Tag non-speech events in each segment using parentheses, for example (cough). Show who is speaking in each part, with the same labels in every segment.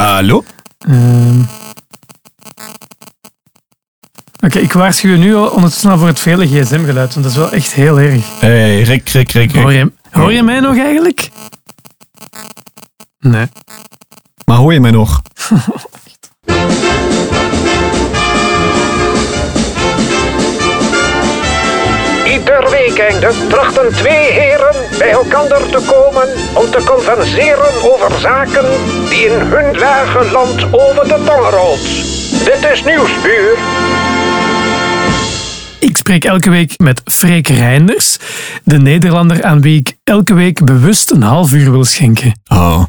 Speaker 1: Hallo?
Speaker 2: Ehm. Oké, ik waarschuw je nu al ondertussen al voor het vele gsm-geluid, want dat is wel echt heel erg.
Speaker 1: hey, Rick, Rick, Rick, Rick.
Speaker 2: Hoor je, hoor je mij nog eigenlijk? Nee.
Speaker 1: Maar hoor je mij nog?
Speaker 3: Ieder weekende trachten twee heren bij elkander te komen om te converseren over zaken die in hun lage land over de tong rolt. Dit is Nieuwsbuur.
Speaker 2: Ik spreek elke week met Freek Reinders, de Nederlander aan wie ik elke week bewust een half uur wil
Speaker 1: (laughs)
Speaker 2: schenken.
Speaker 1: Oh.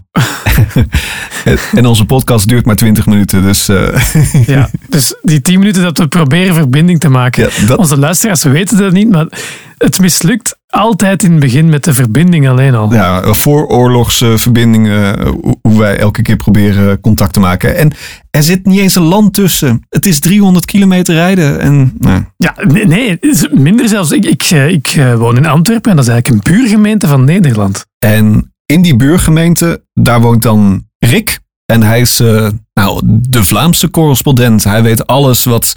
Speaker 1: en onze podcast duurt maar 20 minuten, dus... eh, (laughs)
Speaker 2: Ja, dus die tien minuten dat we proberen verbinding te maken.
Speaker 1: Ja, dat-
Speaker 2: Onze luisteraars weten dat niet, maar het mislukt altijd in het begin met de verbinding alleen al.
Speaker 1: ja, vooroorlogse verbindingen, eh, hoe- hoe wij elke keer proberen contact te maken. En er zit niet eens een land tussen. Het is 300 kilometer rijden en... nou,
Speaker 2: Ja, nee, nee het is minder zelfs. Ik, ik, eh, ik eh, woon in Antwerpen en dat is eigenlijk een buurgemeente van Nederland.
Speaker 1: En in die buurgemeente, daar woont dan Rick. En hij is eh, nou, de Vlaamse correspondent. Hij weet alles wat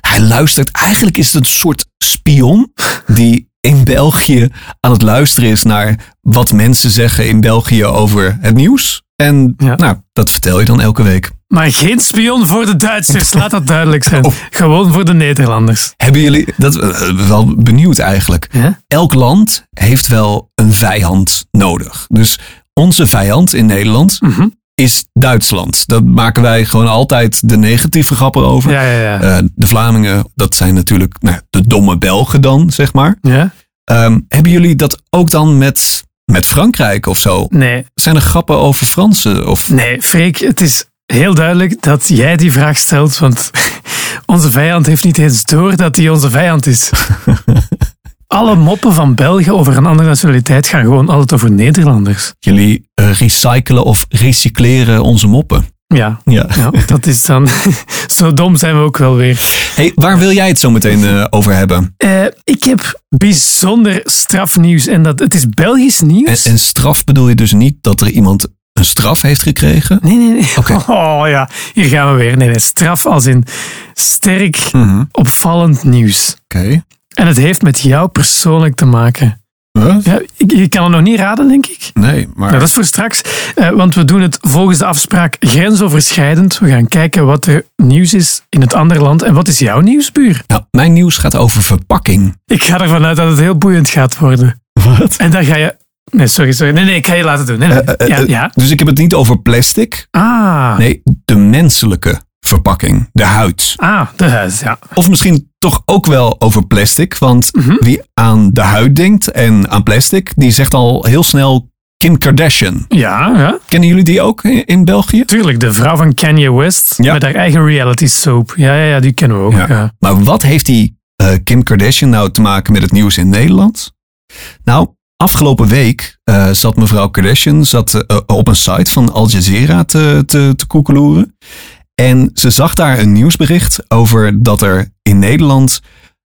Speaker 1: hij luistert. Eigenlijk is het een soort spion die in België aan het luisteren is naar wat mensen zeggen in België over het nieuws. En
Speaker 2: Ja.
Speaker 1: nou, dat vertel je dan elke week.
Speaker 2: Maar geen spion voor de Duitsers, laat dat duidelijk zijn. Gewoon voor de Nederlanders.
Speaker 1: Hebben jullie, dat eh, wel benieuwd eigenlijk.
Speaker 2: Ja?
Speaker 1: elk land heeft wel een vijand nodig. Dus onze vijand in Nederland
Speaker 2: Mhm.
Speaker 1: is Duitsland. Daar maken wij gewoon altijd de negatieve grappen over.
Speaker 2: Ja, ja, ja.
Speaker 1: Eh, de Vlamingen, dat zijn natuurlijk nou, de domme Belgen dan, zeg maar.
Speaker 2: ja?
Speaker 1: Ehm, hebben jullie dat ook dan met, met Frankrijk of zo?
Speaker 2: Nee,
Speaker 1: Zijn er grappen over Fransen? Of,
Speaker 2: nee, Freek, het is heel duidelijk dat jij die vraag stelt, want (laughs) onze vijand heeft niet eens door dat hij onze vijand is. Alle moppen van België over een andere nationaliteit gaan gewoon altijd over Nederlanders.
Speaker 1: Jullie eh, recyclen of recycleren onze moppen?
Speaker 2: Ja,
Speaker 1: Ja.
Speaker 2: ja dat is dan... (laughs) Zo dom zijn we ook wel weer.
Speaker 1: Hey, waar wil jij het zo meteen eh, over hebben?
Speaker 2: Eh, ik heb bijzonder strafnieuws. En dat, het is Belgisch
Speaker 1: En,
Speaker 2: nieuws.
Speaker 1: en straf bedoel je dus niet dat er iemand een straf heeft gekregen?
Speaker 2: Nee, nee, nee.
Speaker 1: Oké.
Speaker 2: (laughs) Oh ja, hier gaan we weer. Nee, nee, straf als in sterk,
Speaker 1: Mhm.
Speaker 2: opvallend nieuws.
Speaker 1: Oké.
Speaker 2: En het heeft met jou persoonlijk te maken. Ja, ik- je kan het nog niet raden, denk ik.
Speaker 1: Nee, maar
Speaker 2: Nou, dat is voor straks, eh, want we doen het volgens de afspraak grensoverschrijdend. We gaan kijken wat er nieuws is in het andere land. En wat is jouw nieuwsbuur?
Speaker 1: Nou, mijn nieuws gaat over verpakking.
Speaker 2: Ik ga ervan uit dat het heel boeiend gaat worden.
Speaker 1: Wat?
Speaker 2: En dan ga je... Nee, sorry, sorry. Nee, nee, ik ga je laten doen. Nee, nee. ja, ja.
Speaker 1: Dus ik heb het niet over plastic.
Speaker 2: Ah,
Speaker 1: Nee, de menselijke verpakking, de huid.
Speaker 2: ah de huis, ja.
Speaker 1: Of misschien toch ook wel over plastic, want
Speaker 2: Mhm.
Speaker 1: wie aan de huid denkt en aan plastic, die zegt al heel snel Kim Kardashian.
Speaker 2: Ja, ja.
Speaker 1: Kennen jullie die ook in, in België?
Speaker 2: Tuurlijk, de vrouw van Kanye West
Speaker 1: Ja.
Speaker 2: met haar eigen reality soap. Ja, ja, ja die kennen we ook. Ja.
Speaker 1: Maar wat heeft die eh, Kim Kardashian nou te maken met het nieuws in Nederland? Nou, afgelopen week eh, zat mevrouw Kardashian zat, eh, op een site van Al Jazeera te, te, te koekeloeren. En ze zag daar een nieuwsbericht over dat er in Nederland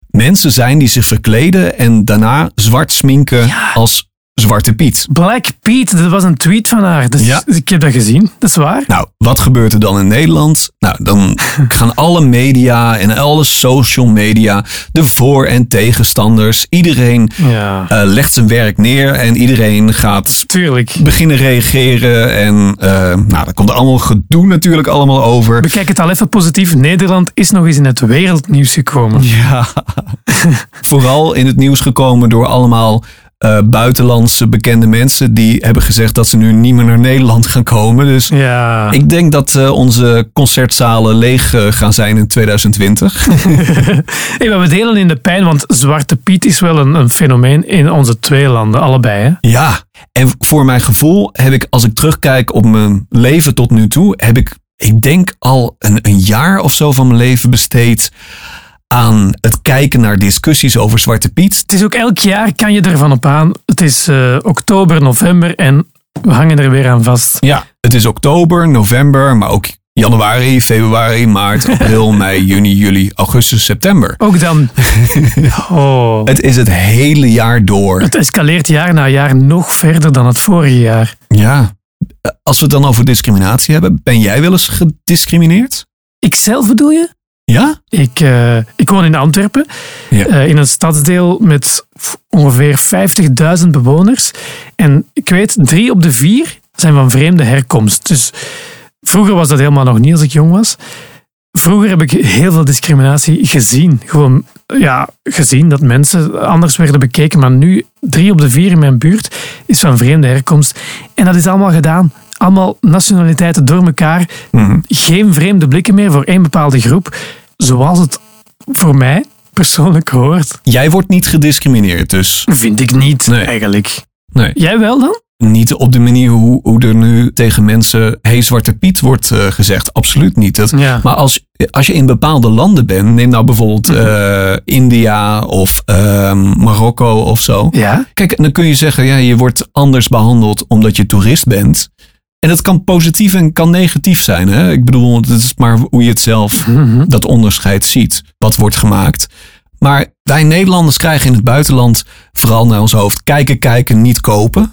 Speaker 1: mensen zijn die zich verkleden en daarna zwart sminken als Zwarte Piet.
Speaker 2: Black Pete, dat was een tweet van haar. Dus
Speaker 1: Ja.
Speaker 2: Ik heb dat gezien, dat is waar.
Speaker 1: Nou, wat gebeurt er dan in Nederland? Nou, dan gaan alle media en alle social media, de voor- en tegenstanders, iedereen
Speaker 2: Ja,
Speaker 1: eh, legt zijn werk neer en iedereen gaat
Speaker 2: tuurlijk.
Speaker 1: beginnen reageren. En eh nou, daar komt er allemaal gedoe natuurlijk allemaal over.
Speaker 2: Bekijk het al even positief. Nederland is nog eens in het wereldnieuws gekomen.
Speaker 1: Ja. (laughs) Vooral in het nieuws gekomen door allemaal eh, buitenlandse bekende mensen die hebben gezegd dat ze nu niet meer naar Nederland gaan komen. Dus
Speaker 2: Ja,
Speaker 1: Ik denk dat eh, onze concertzalen leeg eh, gaan zijn in (laughs) 2020.
Speaker 2: (laughs) hey, maar we delen in de pijn, want Zwarte Piet is wel een, een fenomeen in onze twee landen, allebei. Hè?
Speaker 1: Ja. En voor mijn gevoel heb ik, als ik terugkijk op mijn leven tot nu toe, heb ik, ik denk al een, een jaar of zo van mijn leven besteed aan het kijken naar discussies over Zwarte Piet.
Speaker 2: Het is ook elk jaar, kan je ervan op aan. Het is eh, oktober, november en we hangen er weer aan vast.
Speaker 1: Ja. Het is oktober, november, maar ook januari, februari, (laughs) maart, april, mei, juni, juli, augustus, september.
Speaker 2: Ook dan. Oh.
Speaker 1: Het is het hele jaar door.
Speaker 2: Het escaleert jaar na jaar nog verder dan het vorige jaar.
Speaker 1: Ja. eh, als we het dan over discriminatie hebben, ben jij wel eens gediscrimineerd?
Speaker 2: Ikzelf bedoel je?
Speaker 1: Ja?
Speaker 2: Ik, eh, ik woon in Antwerpen,
Speaker 1: Ja.
Speaker 2: eh, in een stadsdeel met f- ongeveer 50.000 bewoners. En ik weet, drie op de vier zijn van vreemde herkomst. Dus vroeger was dat helemaal nog niet als ik jong was. Vroeger heb ik heel veel discriminatie gezien. Gewoon ja, gezien dat mensen anders werden bekeken. Maar nu, drie op de vier in mijn buurt is van vreemde herkomst. En dat is allemaal gedaan. Allemaal nationaliteiten door elkaar
Speaker 1: Mhm.
Speaker 2: geen vreemde blikken meer voor één bepaalde groep, zoals het voor mij persoonlijk hoort.
Speaker 1: Jij wordt niet gediscrimineerd, dus
Speaker 2: Vind ik niet,
Speaker 1: Nee.
Speaker 2: eigenlijk.
Speaker 1: nee.
Speaker 2: Jij wel dan?
Speaker 1: Niet op de manier hoe, hoe er nu tegen mensen hey, Zwarte Piet wordt eh, gezegd. Absoluut niet. Dat,
Speaker 2: Ja.
Speaker 1: Maar als, als je in bepaalde landen bent, neem nou bijvoorbeeld eh, India of ehm, Marokko of zo.
Speaker 2: Ja?
Speaker 1: Kijk, dan kun je zeggen, ja, je wordt anders behandeld omdat je toerist bent. En dat kan positief en kan negatief zijn. Hè? Ik bedoel, het is maar hoe je het zelf, dat onderscheid ziet, wat wordt gemaakt. Maar wij Nederlanders krijgen in het buitenland vooral naar ons hoofd kijken, kijken, niet kopen. (laughs)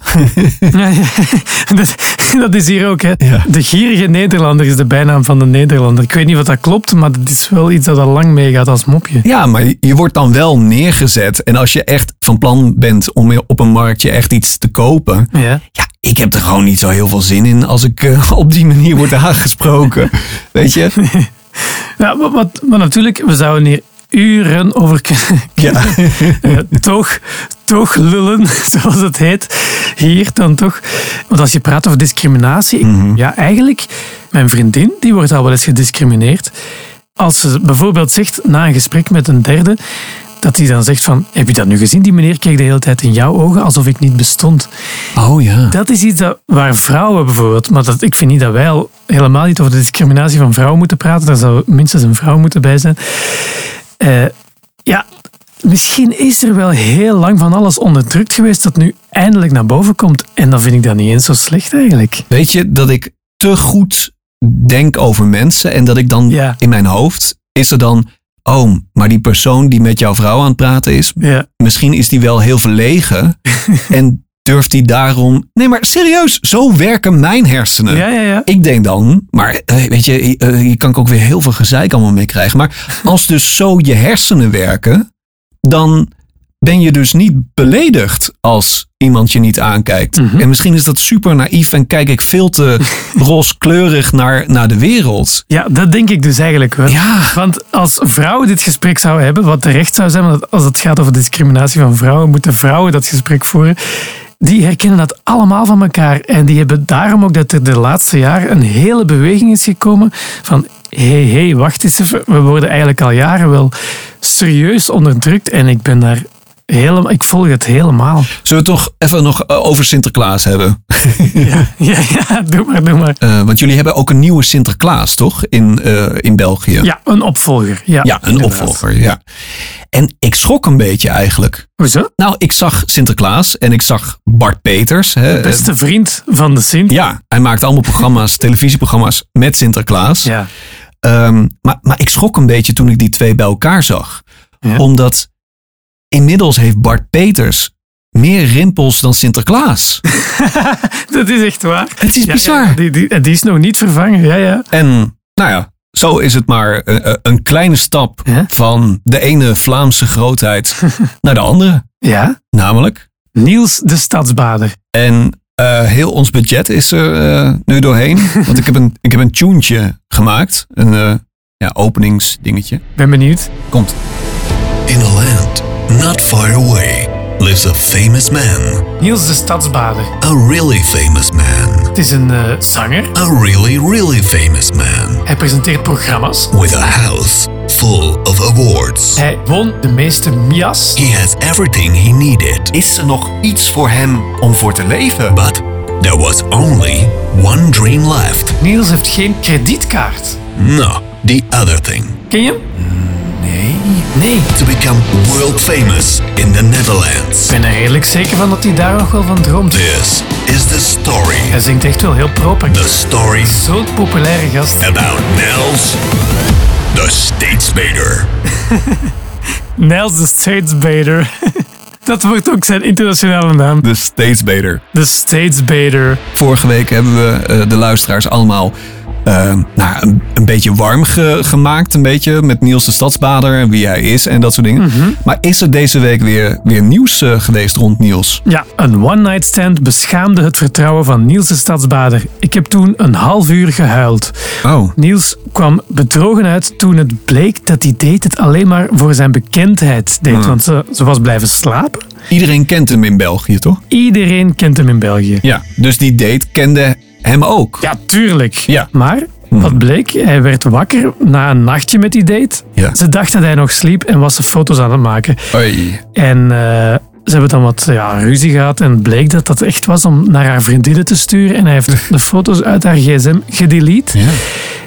Speaker 2: ja, ja. (laughs) Dat, dat is hier ook, hè.
Speaker 1: Ja.
Speaker 2: De gierige Nederlander is de bijnaam van de Nederlander. Ik weet niet wat dat klopt, maar dat is wel iets dat al lang meegaat als mopje.
Speaker 1: Ja, maar je wordt dan wel neergezet. En als je echt van plan bent om op een marktje echt iets te kopen.
Speaker 2: Ja.
Speaker 1: Ja, ik heb er gewoon niet zo heel veel zin in als ik eh, (laughs) op die manier word (laughs) aangesproken. Weet je?
Speaker 2: Ja, maar, wat, maar natuurlijk, we zouden hier uren over kunnen, (laughs)
Speaker 1: Ja.
Speaker 2: Ja, Eh, toch, toch lullen, (laughs) zoals het heet. Hier dan toch. Want als je praat over discriminatie, ik- ja, eigenlijk, mijn vriendin, die wordt al wel eens gediscrimineerd. Als ze bijvoorbeeld zegt, na een gesprek met een derde, dat hij dan zegt van, heb je dat nu gezien? Die meneer keek de hele tijd in jouw ogen, alsof ik niet bestond.
Speaker 1: Oh ja.
Speaker 2: Dat is iets dat, waar vrouwen bijvoorbeeld, maar dat, ik vind niet dat wij al helemaal niet over de discriminatie van vrouwen moeten praten. Daar zou minstens een vrouw moeten bij zijn. Eh, ja, misschien is er wel heel lang van alles onderdrukt geweest dat nu eindelijk naar boven komt. En dan vind ik dat niet eens zo slecht eigenlijk.
Speaker 1: Weet je dat ik te goed denk over mensen en dat ik dan
Speaker 2: Ja.
Speaker 1: in mijn hoofd is er dan, oh, maar die persoon die met jouw vrouw aan het praten is,
Speaker 2: Ja.
Speaker 1: misschien is die wel heel
Speaker 2: (laughs)
Speaker 1: verlegen en durft die daarom. Nee, maar serieus, zo werken mijn hersenen.
Speaker 2: Ja, ja, ja.
Speaker 1: Ik denk dan, maar eh, weet je, eh, je kan ook weer heel veel gezeik allemaal mee krijgen. Maar als dus zo je hersenen werken, dan ben je dus niet beledigd als iemand je niet aankijkt.
Speaker 2: Mhm.
Speaker 1: En misschien is dat super naïef en kijk ik veel te
Speaker 2: (laughs)
Speaker 1: rooskleurig naar, naar de wereld.
Speaker 2: Ja, dat denk ik dus eigenlijk wel.
Speaker 1: Ja.
Speaker 2: Want als vrouwen dit gesprek zouden hebben, wat terecht zou zijn, want als het gaat over discriminatie van vrouwen, moeten vrouwen dat gesprek voeren. Die herkennen dat allemaal van elkaar. En die hebben daarom ook dat er de laatste jaren een hele beweging is gekomen van hé, hey, hé, hey, wacht eens even. We worden eigenlijk al jaren wel serieus onderdrukt en ik ben daar helemaal, ik volg het helemaal. (laughs)
Speaker 1: Zullen we het toch even nog eh, over Sinterklaas hebben?
Speaker 2: Ja, ja, doe maar, doe maar.
Speaker 1: Eh, want jullie hebben ook een nieuwe Sinterklaas, toch? In, eh, in België.
Speaker 2: Ja, een opvolger. Ja,
Speaker 1: Ja, een
Speaker 2: inderdaad.
Speaker 1: opvolger. Ja. En ik schrok een beetje eigenlijk.
Speaker 2: Hoezo?
Speaker 1: Nou, ik zag Sinterklaas en ik zag Bart Peters. Hè,
Speaker 2: Beste vriend van de Sint.
Speaker 1: Eh, Ja, hij maakt allemaal
Speaker 2: (laughs)
Speaker 1: programma's, televisieprogramma's met Sinterklaas.
Speaker 2: Ja.
Speaker 1: Ehm, maar, maar ik schrok een beetje toen ik die twee bij elkaar zag.
Speaker 2: Ja.
Speaker 1: Omdat inmiddels heeft Bart Peters meer rimpels dan
Speaker 2: (laughs)
Speaker 1: Sinterklaas.
Speaker 2: Dat is echt waar.
Speaker 1: Het is
Speaker 2: Ja,
Speaker 1: bizar.
Speaker 2: ja, die, die, die is nog niet vervangen. Ja, ja.
Speaker 1: En nou ja, zo is het maar eh, eh, een kleine stap
Speaker 2: Ja.
Speaker 1: van de ene Vlaamse
Speaker 2: (laughs)
Speaker 1: grootheid naar de andere.
Speaker 2: ja.
Speaker 1: Namelijk.
Speaker 2: Niels de Stadsbader.
Speaker 1: En eh, heel ons budget is er eh, nu doorheen. (laughs) Want ik heb een, ik heb een tuentje gemaakt. Een eh, ja, openingsdingetje.
Speaker 2: Ben benieuwd.
Speaker 1: Komt.
Speaker 4: In a land not far away lives a famous man,
Speaker 2: Niels de Stadsbader.
Speaker 4: a really famous man,
Speaker 2: Het is een eh, zanger.
Speaker 4: a really, really famous man,
Speaker 2: Hij presenteert programma's.
Speaker 4: with a house full of awards.
Speaker 2: Hij won de meeste Mias.
Speaker 4: He has everything he needed,
Speaker 1: Is er nog iets voor hem om voor te leven?
Speaker 4: but there was only one dream left.
Speaker 2: Niels heeft geen kredietkaart.
Speaker 4: No, the other thing
Speaker 2: Ken je hem? Nee. Nee.
Speaker 4: to become world famous in the Netherlands.
Speaker 2: Ik ben er redelijk zeker van dat hij daar nog wel van droomt.
Speaker 4: This is the story,
Speaker 2: Hij zingt echt wel heel
Speaker 4: the
Speaker 2: proper.
Speaker 4: story
Speaker 2: Zo'n populaire gast.
Speaker 4: about Nels, the Statesbader.
Speaker 2: Niels de Stadsbader. (laughs) Dat wordt ook zijn internationale naam.
Speaker 1: De Statesbader.
Speaker 2: De Statesbader.
Speaker 1: Vorige week hebben we eh, de luisteraars allemaal eh, nou, een, een beetje warm ge- gemaakt. Een beetje met Niels de Stadsbader en wie hij is en dat soort dingen. Maar is er deze week weer, weer nieuws eh, geweest rond Niels?
Speaker 2: Ja, een one-night stand beschaamde het vertrouwen van Niels de Stadsbader. Ik heb toen een half uur gehuild.
Speaker 1: Oh.
Speaker 2: Niels kwam bedrogen uit toen het bleek dat hij deed het alleen maar voor zijn bekendheid deed.
Speaker 1: Hmm.
Speaker 2: Want ze, ze was blijven slapen.
Speaker 1: Iedereen kent hem in België, toch?
Speaker 2: Iedereen kent hem in België.
Speaker 1: Ja. Dus die date kende hem ook.
Speaker 2: Ja, tuurlijk.
Speaker 1: Ja. Hmm.
Speaker 2: Maar wat bleek? Hij werd wakker na een nachtje met die date.
Speaker 1: Ja.
Speaker 2: Ze dacht dat hij nog sliep en was ze foto's aan het maken.
Speaker 1: Oei.
Speaker 2: En eh, ze hebben dan wat ja, ruzie gehad en bleek dat dat echt was om naar haar vriendinnen te sturen. En hij heeft de foto's uit haar gsm gedelete.
Speaker 1: Ja.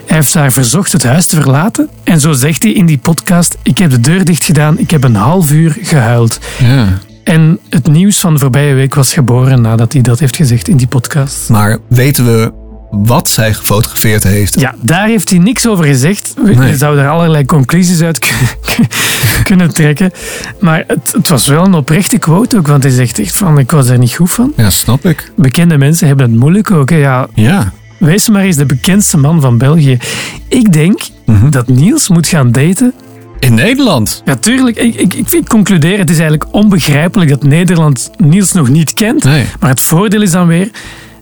Speaker 2: Hij heeft haar verzocht het huis te verlaten. En zo zegt hij in die podcast, ik heb de deur dicht gedaan, ik heb een half uur gehuild.
Speaker 1: ja.
Speaker 2: En het nieuws van de voorbije week was geboren nadat hij dat heeft gezegd in die podcast.
Speaker 1: Maar weten we wat zij gefotografeerd heeft?
Speaker 2: Ja, daar heeft hij niks over gezegd. We
Speaker 1: Nee.
Speaker 2: je zouden er allerlei conclusies uit (laughs) kun- kunnen trekken. Maar het, het was wel een oprechte quote ook, want hij zegt echt van, ik was er niet goed van.
Speaker 1: Ja, snap ik.
Speaker 2: Bekende mensen hebben het moeilijk ook. hè. Ja,
Speaker 1: Ja.
Speaker 2: wees maar eens de bekendste man van België. Ik denk
Speaker 1: Mhm.
Speaker 2: dat Niels moet gaan daten.
Speaker 1: In Nederland.
Speaker 2: Natuurlijk, ik, ik, ik, ik concludeer, het is eigenlijk onbegrijpelijk dat Nederland Niels nog niet kent.
Speaker 1: Nee.
Speaker 2: Maar het voordeel is dan weer,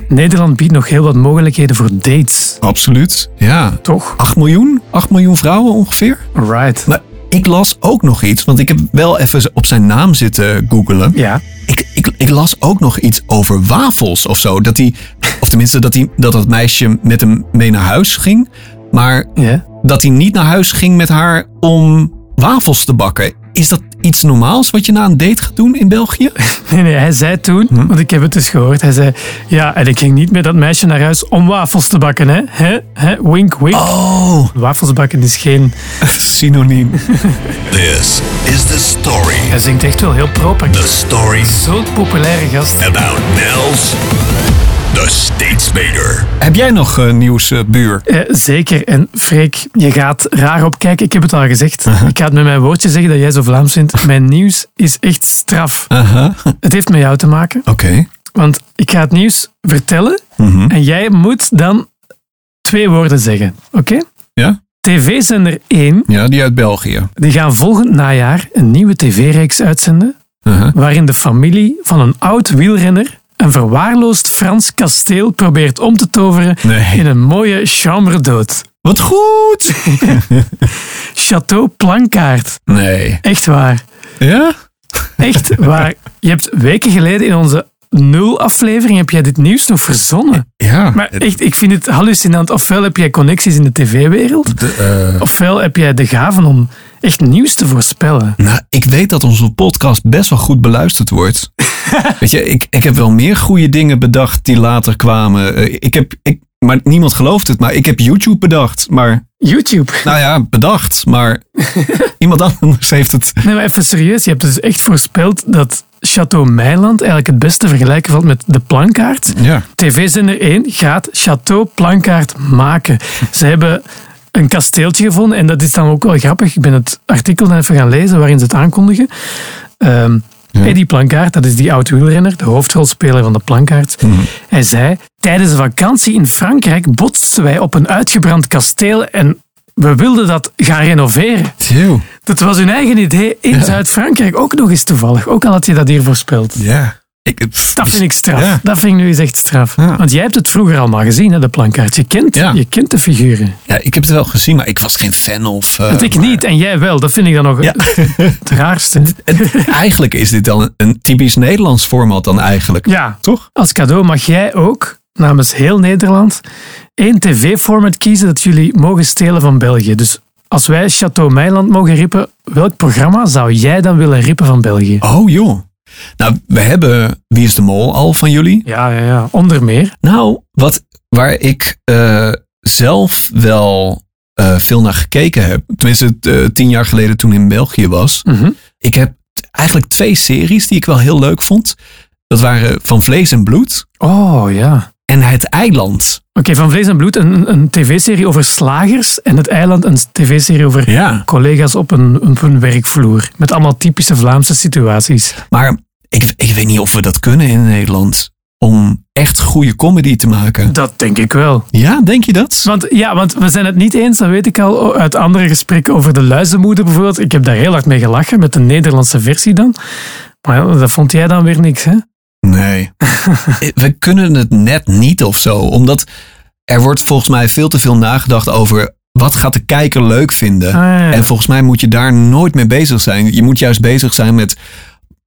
Speaker 2: Nederland biedt nog heel wat mogelijkheden voor dates.
Speaker 1: Absoluut. Ja.
Speaker 2: Toch?
Speaker 1: 8 miljoen? 8 miljoen vrouwen ongeveer?
Speaker 2: Right.
Speaker 1: Maar ik las ook nog iets, want ik heb wel even op zijn naam zitten googelen.
Speaker 2: Ja.
Speaker 1: Ik, ik, ik las ook nog iets over wafels of zo. Dat hij, of tenminste dat, hij, dat dat meisje met hem mee naar huis ging. Maar
Speaker 2: Ja.
Speaker 1: dat hij niet naar huis ging met haar om wafels te bakken. Is dat iets normaals wat je na een date gaat doen in België?
Speaker 2: Nee, nee, hij zei toen,
Speaker 1: Mhm.
Speaker 2: want ik heb het dus gehoord, hij zei, ja, en ik ging niet met dat meisje naar huis om wafels te bakken, hè? hè? hè? Wink, wink.
Speaker 1: Oh,
Speaker 2: Wafels bakken is geen...
Speaker 1: synoniem.
Speaker 4: (laughs) This is the story.
Speaker 2: Hij zingt echt wel heel proper.
Speaker 4: The story
Speaker 2: Zo'n populaire gast.
Speaker 4: about Nels, the Statesbader.
Speaker 1: Heb jij nog eh, nieuws, eh, buur?
Speaker 2: Eh, zeker. En Freek, je gaat raar opkijken. Ik heb het al gezegd. Ik ga het met mijn woordje zeggen dat jij zo Vlaams vindt. Mijn nieuws is echt straf.
Speaker 1: Aha.
Speaker 2: Het heeft met jou te maken.
Speaker 1: Oké.
Speaker 2: Want ik ga het nieuws vertellen. En jij moet dan twee woorden zeggen. Oké?
Speaker 1: Ja?
Speaker 2: TV-zender 1
Speaker 1: Ja, die uit België.
Speaker 2: Die gaan volgend najaar een nieuwe tv-reeks uitzenden.
Speaker 1: Aha.
Speaker 2: waarin de familie van een oud wielrenner. een verwaarloosd Frans kasteel probeert om te toveren.
Speaker 1: Nee.
Speaker 2: in een mooie chambre d'hôte.
Speaker 1: Wat goed!
Speaker 2: Château Plankaart.
Speaker 1: Nee.
Speaker 2: Echt waar.
Speaker 1: Ja?
Speaker 2: Echt waar. Je hebt weken geleden in onze nul-aflevering. heb jij dit nieuws nog verzonnen.
Speaker 1: Ja.
Speaker 2: Maar echt, ik vind het hallucinant. Ofwel heb jij connecties in de tv-wereld.
Speaker 1: De, eh,
Speaker 2: ofwel heb jij de gaven om echt nieuws te voorspellen.
Speaker 1: Nou, ik weet dat onze podcast best wel goed beluisterd (laughs) wordt. weet je, ik, ik heb wel meer goede dingen bedacht die later kwamen. Eh, ik heb, ik, maar niemand gelooft het, maar ik heb YouTube bedacht. Maar,
Speaker 2: YouTube.
Speaker 1: nou ja, bedacht,
Speaker 2: (laughs)
Speaker 1: maar iemand anders heeft het.
Speaker 2: Nee, maar even serieus. Je hebt dus echt voorspeld dat Château Meiland eigenlijk het beste vergelijken valt met de plankaart.
Speaker 1: Ja.
Speaker 2: TV-zender 1 gaat Château Plankaart maken. Ze hebben een kasteeltje gevonden en dat is dan ook wel grappig. Ik ben het artikel dan even gaan lezen waarin ze het aankondigen. Ehm Eddie Plankaart, dat is die oud wielrenner, de hoofdrolspeler van de Plankaart. Hij zei, tijdens een vakantie in Frankrijk botsten wij op een uitgebrand kasteel en we wilden dat gaan renoveren.
Speaker 1: Eeuw.
Speaker 2: Dat was hun eigen idee in Zuid-Frankrijk. Ook nog eens toevallig. Ook al had je dat hier voorspeld.
Speaker 1: Ja. Ik, het-
Speaker 2: Dat vind ik straf.
Speaker 1: Dus, Ja.
Speaker 2: Dat vind ik nu eens echt straf.
Speaker 1: Ja.
Speaker 2: Want jij hebt het vroeger allemaal gezien, hè, de plankaart. Je kent,
Speaker 1: Ja.
Speaker 2: je kent de figuren.
Speaker 1: ja, ik heb het wel gezien, maar ik was geen fan of... eh,
Speaker 2: dat ik
Speaker 1: maar-
Speaker 2: niet en jij wel. Dat vind ik dan nog
Speaker 1: Ja.
Speaker 2: het
Speaker 1: (laughs)
Speaker 2: raarste.
Speaker 1: eigenlijk is dit dan een, een typisch Nederlands format dan eigenlijk.
Speaker 2: Ja,
Speaker 1: Toch?
Speaker 2: als cadeau mag jij ook, namens heel Nederland, één tv-format kiezen dat jullie mogen stelen van België. Dus als wij Château Meiland mogen rippen, welk programma zou jij dan willen rippen van België?
Speaker 1: Oh joh. Nou, we hebben Wie is de Mol al van jullie.
Speaker 2: Ja, ja, ja. Onder meer.
Speaker 1: Nou, wat, waar ik eh, zelf wel eh, veel naar gekeken heb. Tenminste, eh, tien jaar geleden toen ik in België was.
Speaker 2: Mhm.
Speaker 1: Ik heb t- eigenlijk twee series die ik wel heel leuk vond. Dat waren Van Vlees en Bloed
Speaker 2: Oh, ja.
Speaker 1: en Het Eiland.
Speaker 2: Oké, Van Vlees en Bloed, een, een tv-serie over slagers en het eiland een tv-serie over
Speaker 1: Ja.
Speaker 2: collega's op een, op hun werkvloer. Met allemaal typische Vlaamse situaties.
Speaker 1: Maar Ik, ik weet niet of we dat kunnen in Nederland. Om echt goede comedy te maken.
Speaker 2: Dat denk ik wel.
Speaker 1: Ja, denk je dat?
Speaker 2: Want, ja, want we zijn het niet eens, dat weet ik al uit andere gesprekken over de luizenmoeder bijvoorbeeld. Ik heb daar heel hard mee gelachen, met de Nederlandse versie dan. Maar ja, dat vond jij dan weer niks, hè?
Speaker 1: Nee. we kunnen het net niet of zo. Omdat er wordt volgens mij veel te veel nagedacht over wat gaat de kijker leuk vinden.
Speaker 2: Ah, ja.
Speaker 1: En volgens mij moet je daar nooit mee bezig zijn. Je moet juist bezig zijn met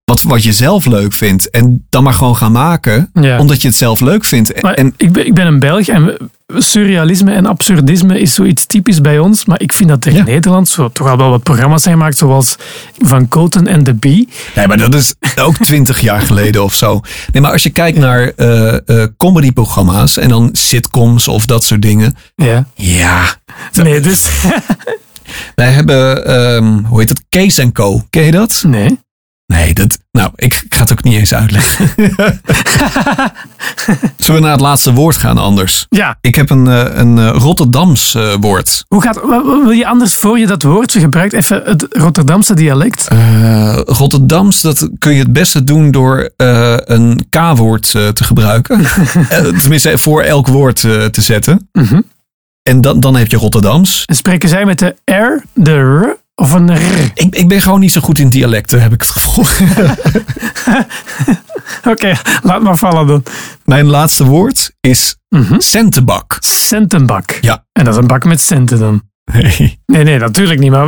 Speaker 1: wat, wat je zelf leuk vindt. En dan maar gewoon gaan maken,
Speaker 2: Ja.
Speaker 1: omdat je het zelf leuk vindt. En,
Speaker 2: Maar
Speaker 1: en-
Speaker 2: ik, ben, ik ben een Belg en we- surrealisme en absurdisme is zoiets typisch bij ons. Maar ik vind dat er in
Speaker 1: Ja.
Speaker 2: Nederland zo, toch al wel wat programma's zijn gemaakt, zoals Van Koten en de Bee.
Speaker 1: nee, maar dat is (laughs) ook twintig jaar geleden of zo. Nee, maar als je kijkt naar eh eh comedyprogramma's en dan sitcoms of dat soort dingen.
Speaker 2: Ja.
Speaker 1: Ja,
Speaker 2: Nee, dus... (laughs)
Speaker 1: wij hebben, ehm, hoe heet dat? Kees Co. Ken je dat?
Speaker 2: Nee.
Speaker 1: Nee, dat. Nou, ik, ik ga het ook niet eens uitleggen. (laughs) Zullen we naar het laatste woord gaan anders?
Speaker 2: Ja.
Speaker 1: Ik heb een, eh, een eh, Rotterdams eh, woord.
Speaker 2: Hoe gaat... wa- wa- Wil je anders, voor je dat woord gebruikt, even het Rotterdamse dialect?
Speaker 1: Eh, Rotterdams, dat kun je het beste doen door eh, een K-woord eh, te gebruiken. Eh, tenminste, voor elk woord eh, te zetten.
Speaker 2: Mhm.
Speaker 1: En dan, dan heb je Rotterdams.
Speaker 2: En spreken zij met de R, de R of een
Speaker 1: (laughs)
Speaker 2: R?
Speaker 1: Ik, ik ben gewoon niet zo goed in dialecten, heb ik het gevoel. (laughs)
Speaker 2: Oké, laat maar vallen dan.
Speaker 1: Mijn laatste woord is
Speaker 2: Mhm.
Speaker 1: centenbak.
Speaker 2: Centenbak.
Speaker 1: Ja. (laughs)
Speaker 2: En dat is een bak met centen dan.
Speaker 1: Nee.
Speaker 2: Nee, nee, natuurlijk niet. Maar,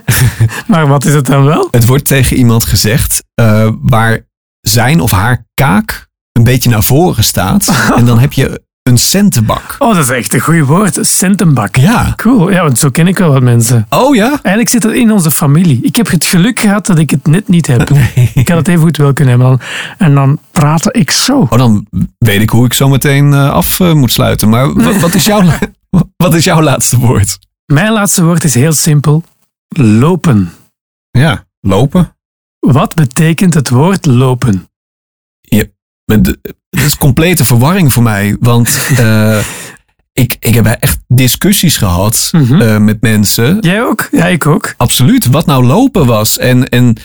Speaker 2: (laughs) maar wat is het dan wel?
Speaker 1: Het wordt tegen iemand gezegd eh, waar zijn of haar kaak een beetje naar voren staat. en dan heb je een centenbak.
Speaker 2: Oh, dat is echt een goed woord. Centenbak.
Speaker 1: Ja.
Speaker 2: Cool. Ja, want zo ken ik wel wat mensen.
Speaker 1: Oh ja?
Speaker 2: Eigenlijk zit dat in onze familie. Ik heb het geluk gehad dat ik het net niet heb. Ik had het even goed wel kunnen hebben. Dan. En dan praatte ik zo.
Speaker 1: Oh, dan weet ik hoe ik zo meteen eh, af eh, moet sluiten. Maar wa- wat is, jouw, (laughs) la- wat is jouw laatste woord?
Speaker 2: Mijn laatste woord is heel simpel. Lopen.
Speaker 1: Ja, lopen.
Speaker 2: Wat betekent het woord lopen?
Speaker 1: Met de- Het is complete verwarring voor mij. Want eh, ik, ik heb echt discussies gehad
Speaker 2: Mhm.
Speaker 1: eh, met mensen.
Speaker 2: Jij ook? Ja, ik ook.
Speaker 1: Absoluut. Wat nou lopen was. En, en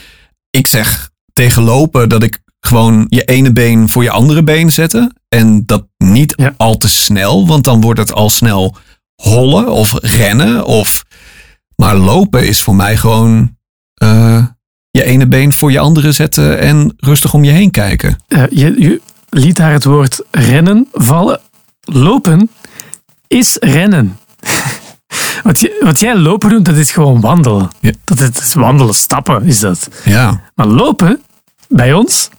Speaker 1: ik zeg tegen lopen dat ik gewoon je ene been voor je andere been zette. En dat niet
Speaker 2: Ja.
Speaker 1: al te snel, want dan wordt het al snel hollen of rennen. Of... Maar lopen is voor mij gewoon eh, je ene been voor je andere zetten en rustig om je heen kijken.
Speaker 2: Eh, je, je liet haar het woord rennen vallen. Lopen is rennen. (laughs) wat, je- wat jij lopen doet, dat is gewoon wandelen.
Speaker 1: Ja.
Speaker 2: Dat is, dat is wandelen, stappen is dat.
Speaker 1: Ja,
Speaker 2: Maar lopen, bij ons,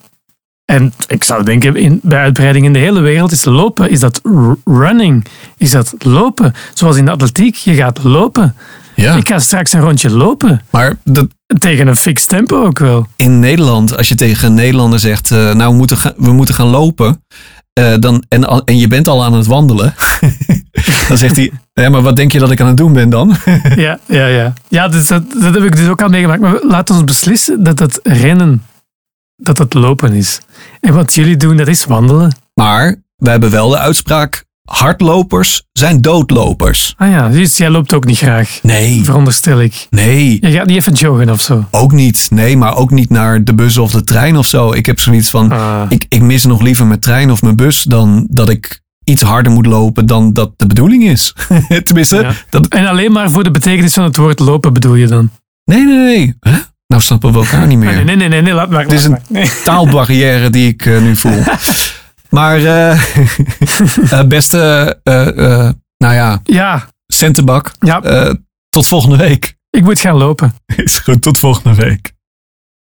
Speaker 2: en ik zou denken in, bij uitbreiding in de hele wereld, is lopen, is dat r- running, is dat lopen. Zoals in de atletiek, je gaat lopen.
Speaker 1: ja.
Speaker 2: Ik ga straks een rondje lopen.
Speaker 1: maar dat,
Speaker 2: Tegen een fix tempo ook wel.
Speaker 1: in Nederland, als je tegen een Nederlander zegt, eh, nou we moeten gaan, we moeten gaan lopen, eh, dan, en, al- en je bent al aan het wandelen, (laughs) dan zegt hij, ja, maar wat denk je dat ik aan het doen ben dan? (laughs)
Speaker 2: Ja, ja, ja. Ja, dus dat, dat heb ik dus ook al meegemaakt. Maar we- laat ons beslissen dat het rennen, dat het lopen is. En wat jullie doen, dat is wandelen.
Speaker 1: maar we hebben wel de uitspraak, hardlopers zijn doodlopers.
Speaker 2: Ah ja, dus jij loopt ook niet graag,
Speaker 1: Nee,
Speaker 2: veronderstel ik.
Speaker 1: nee,
Speaker 2: Je gaat niet even joggen of zo.
Speaker 1: ook niet. Nee, maar ook niet naar de bus of de trein of zo. Ik heb zoiets van,
Speaker 2: Ah.
Speaker 1: ik, ik mis nog liever mijn trein of mijn bus dan dat ik iets harder moet lopen dan dat de bedoeling is. (laughs) Tenminste,
Speaker 2: Ja.
Speaker 1: dat,
Speaker 2: En alleen maar voor de betekenis van het woord lopen bedoel je dan?
Speaker 1: nee, nee, nee. Huh? Nou snappen we elkaar niet meer.
Speaker 2: Ah, (laughs) nee, nee, nee, nee, nee, laat maar.
Speaker 1: Dit is
Speaker 2: laat
Speaker 1: een
Speaker 2: maar. Nee.
Speaker 1: taalbarrière die ik eh, nu (laughs) voel. Maar (laughs) eh, eh, beste, eh, eh, nou ja,
Speaker 2: Ja,
Speaker 1: centenbak.
Speaker 2: ja
Speaker 1: eh, tot volgende week.
Speaker 2: ik moet gaan lopen.
Speaker 1: Is goed, tot volgende week.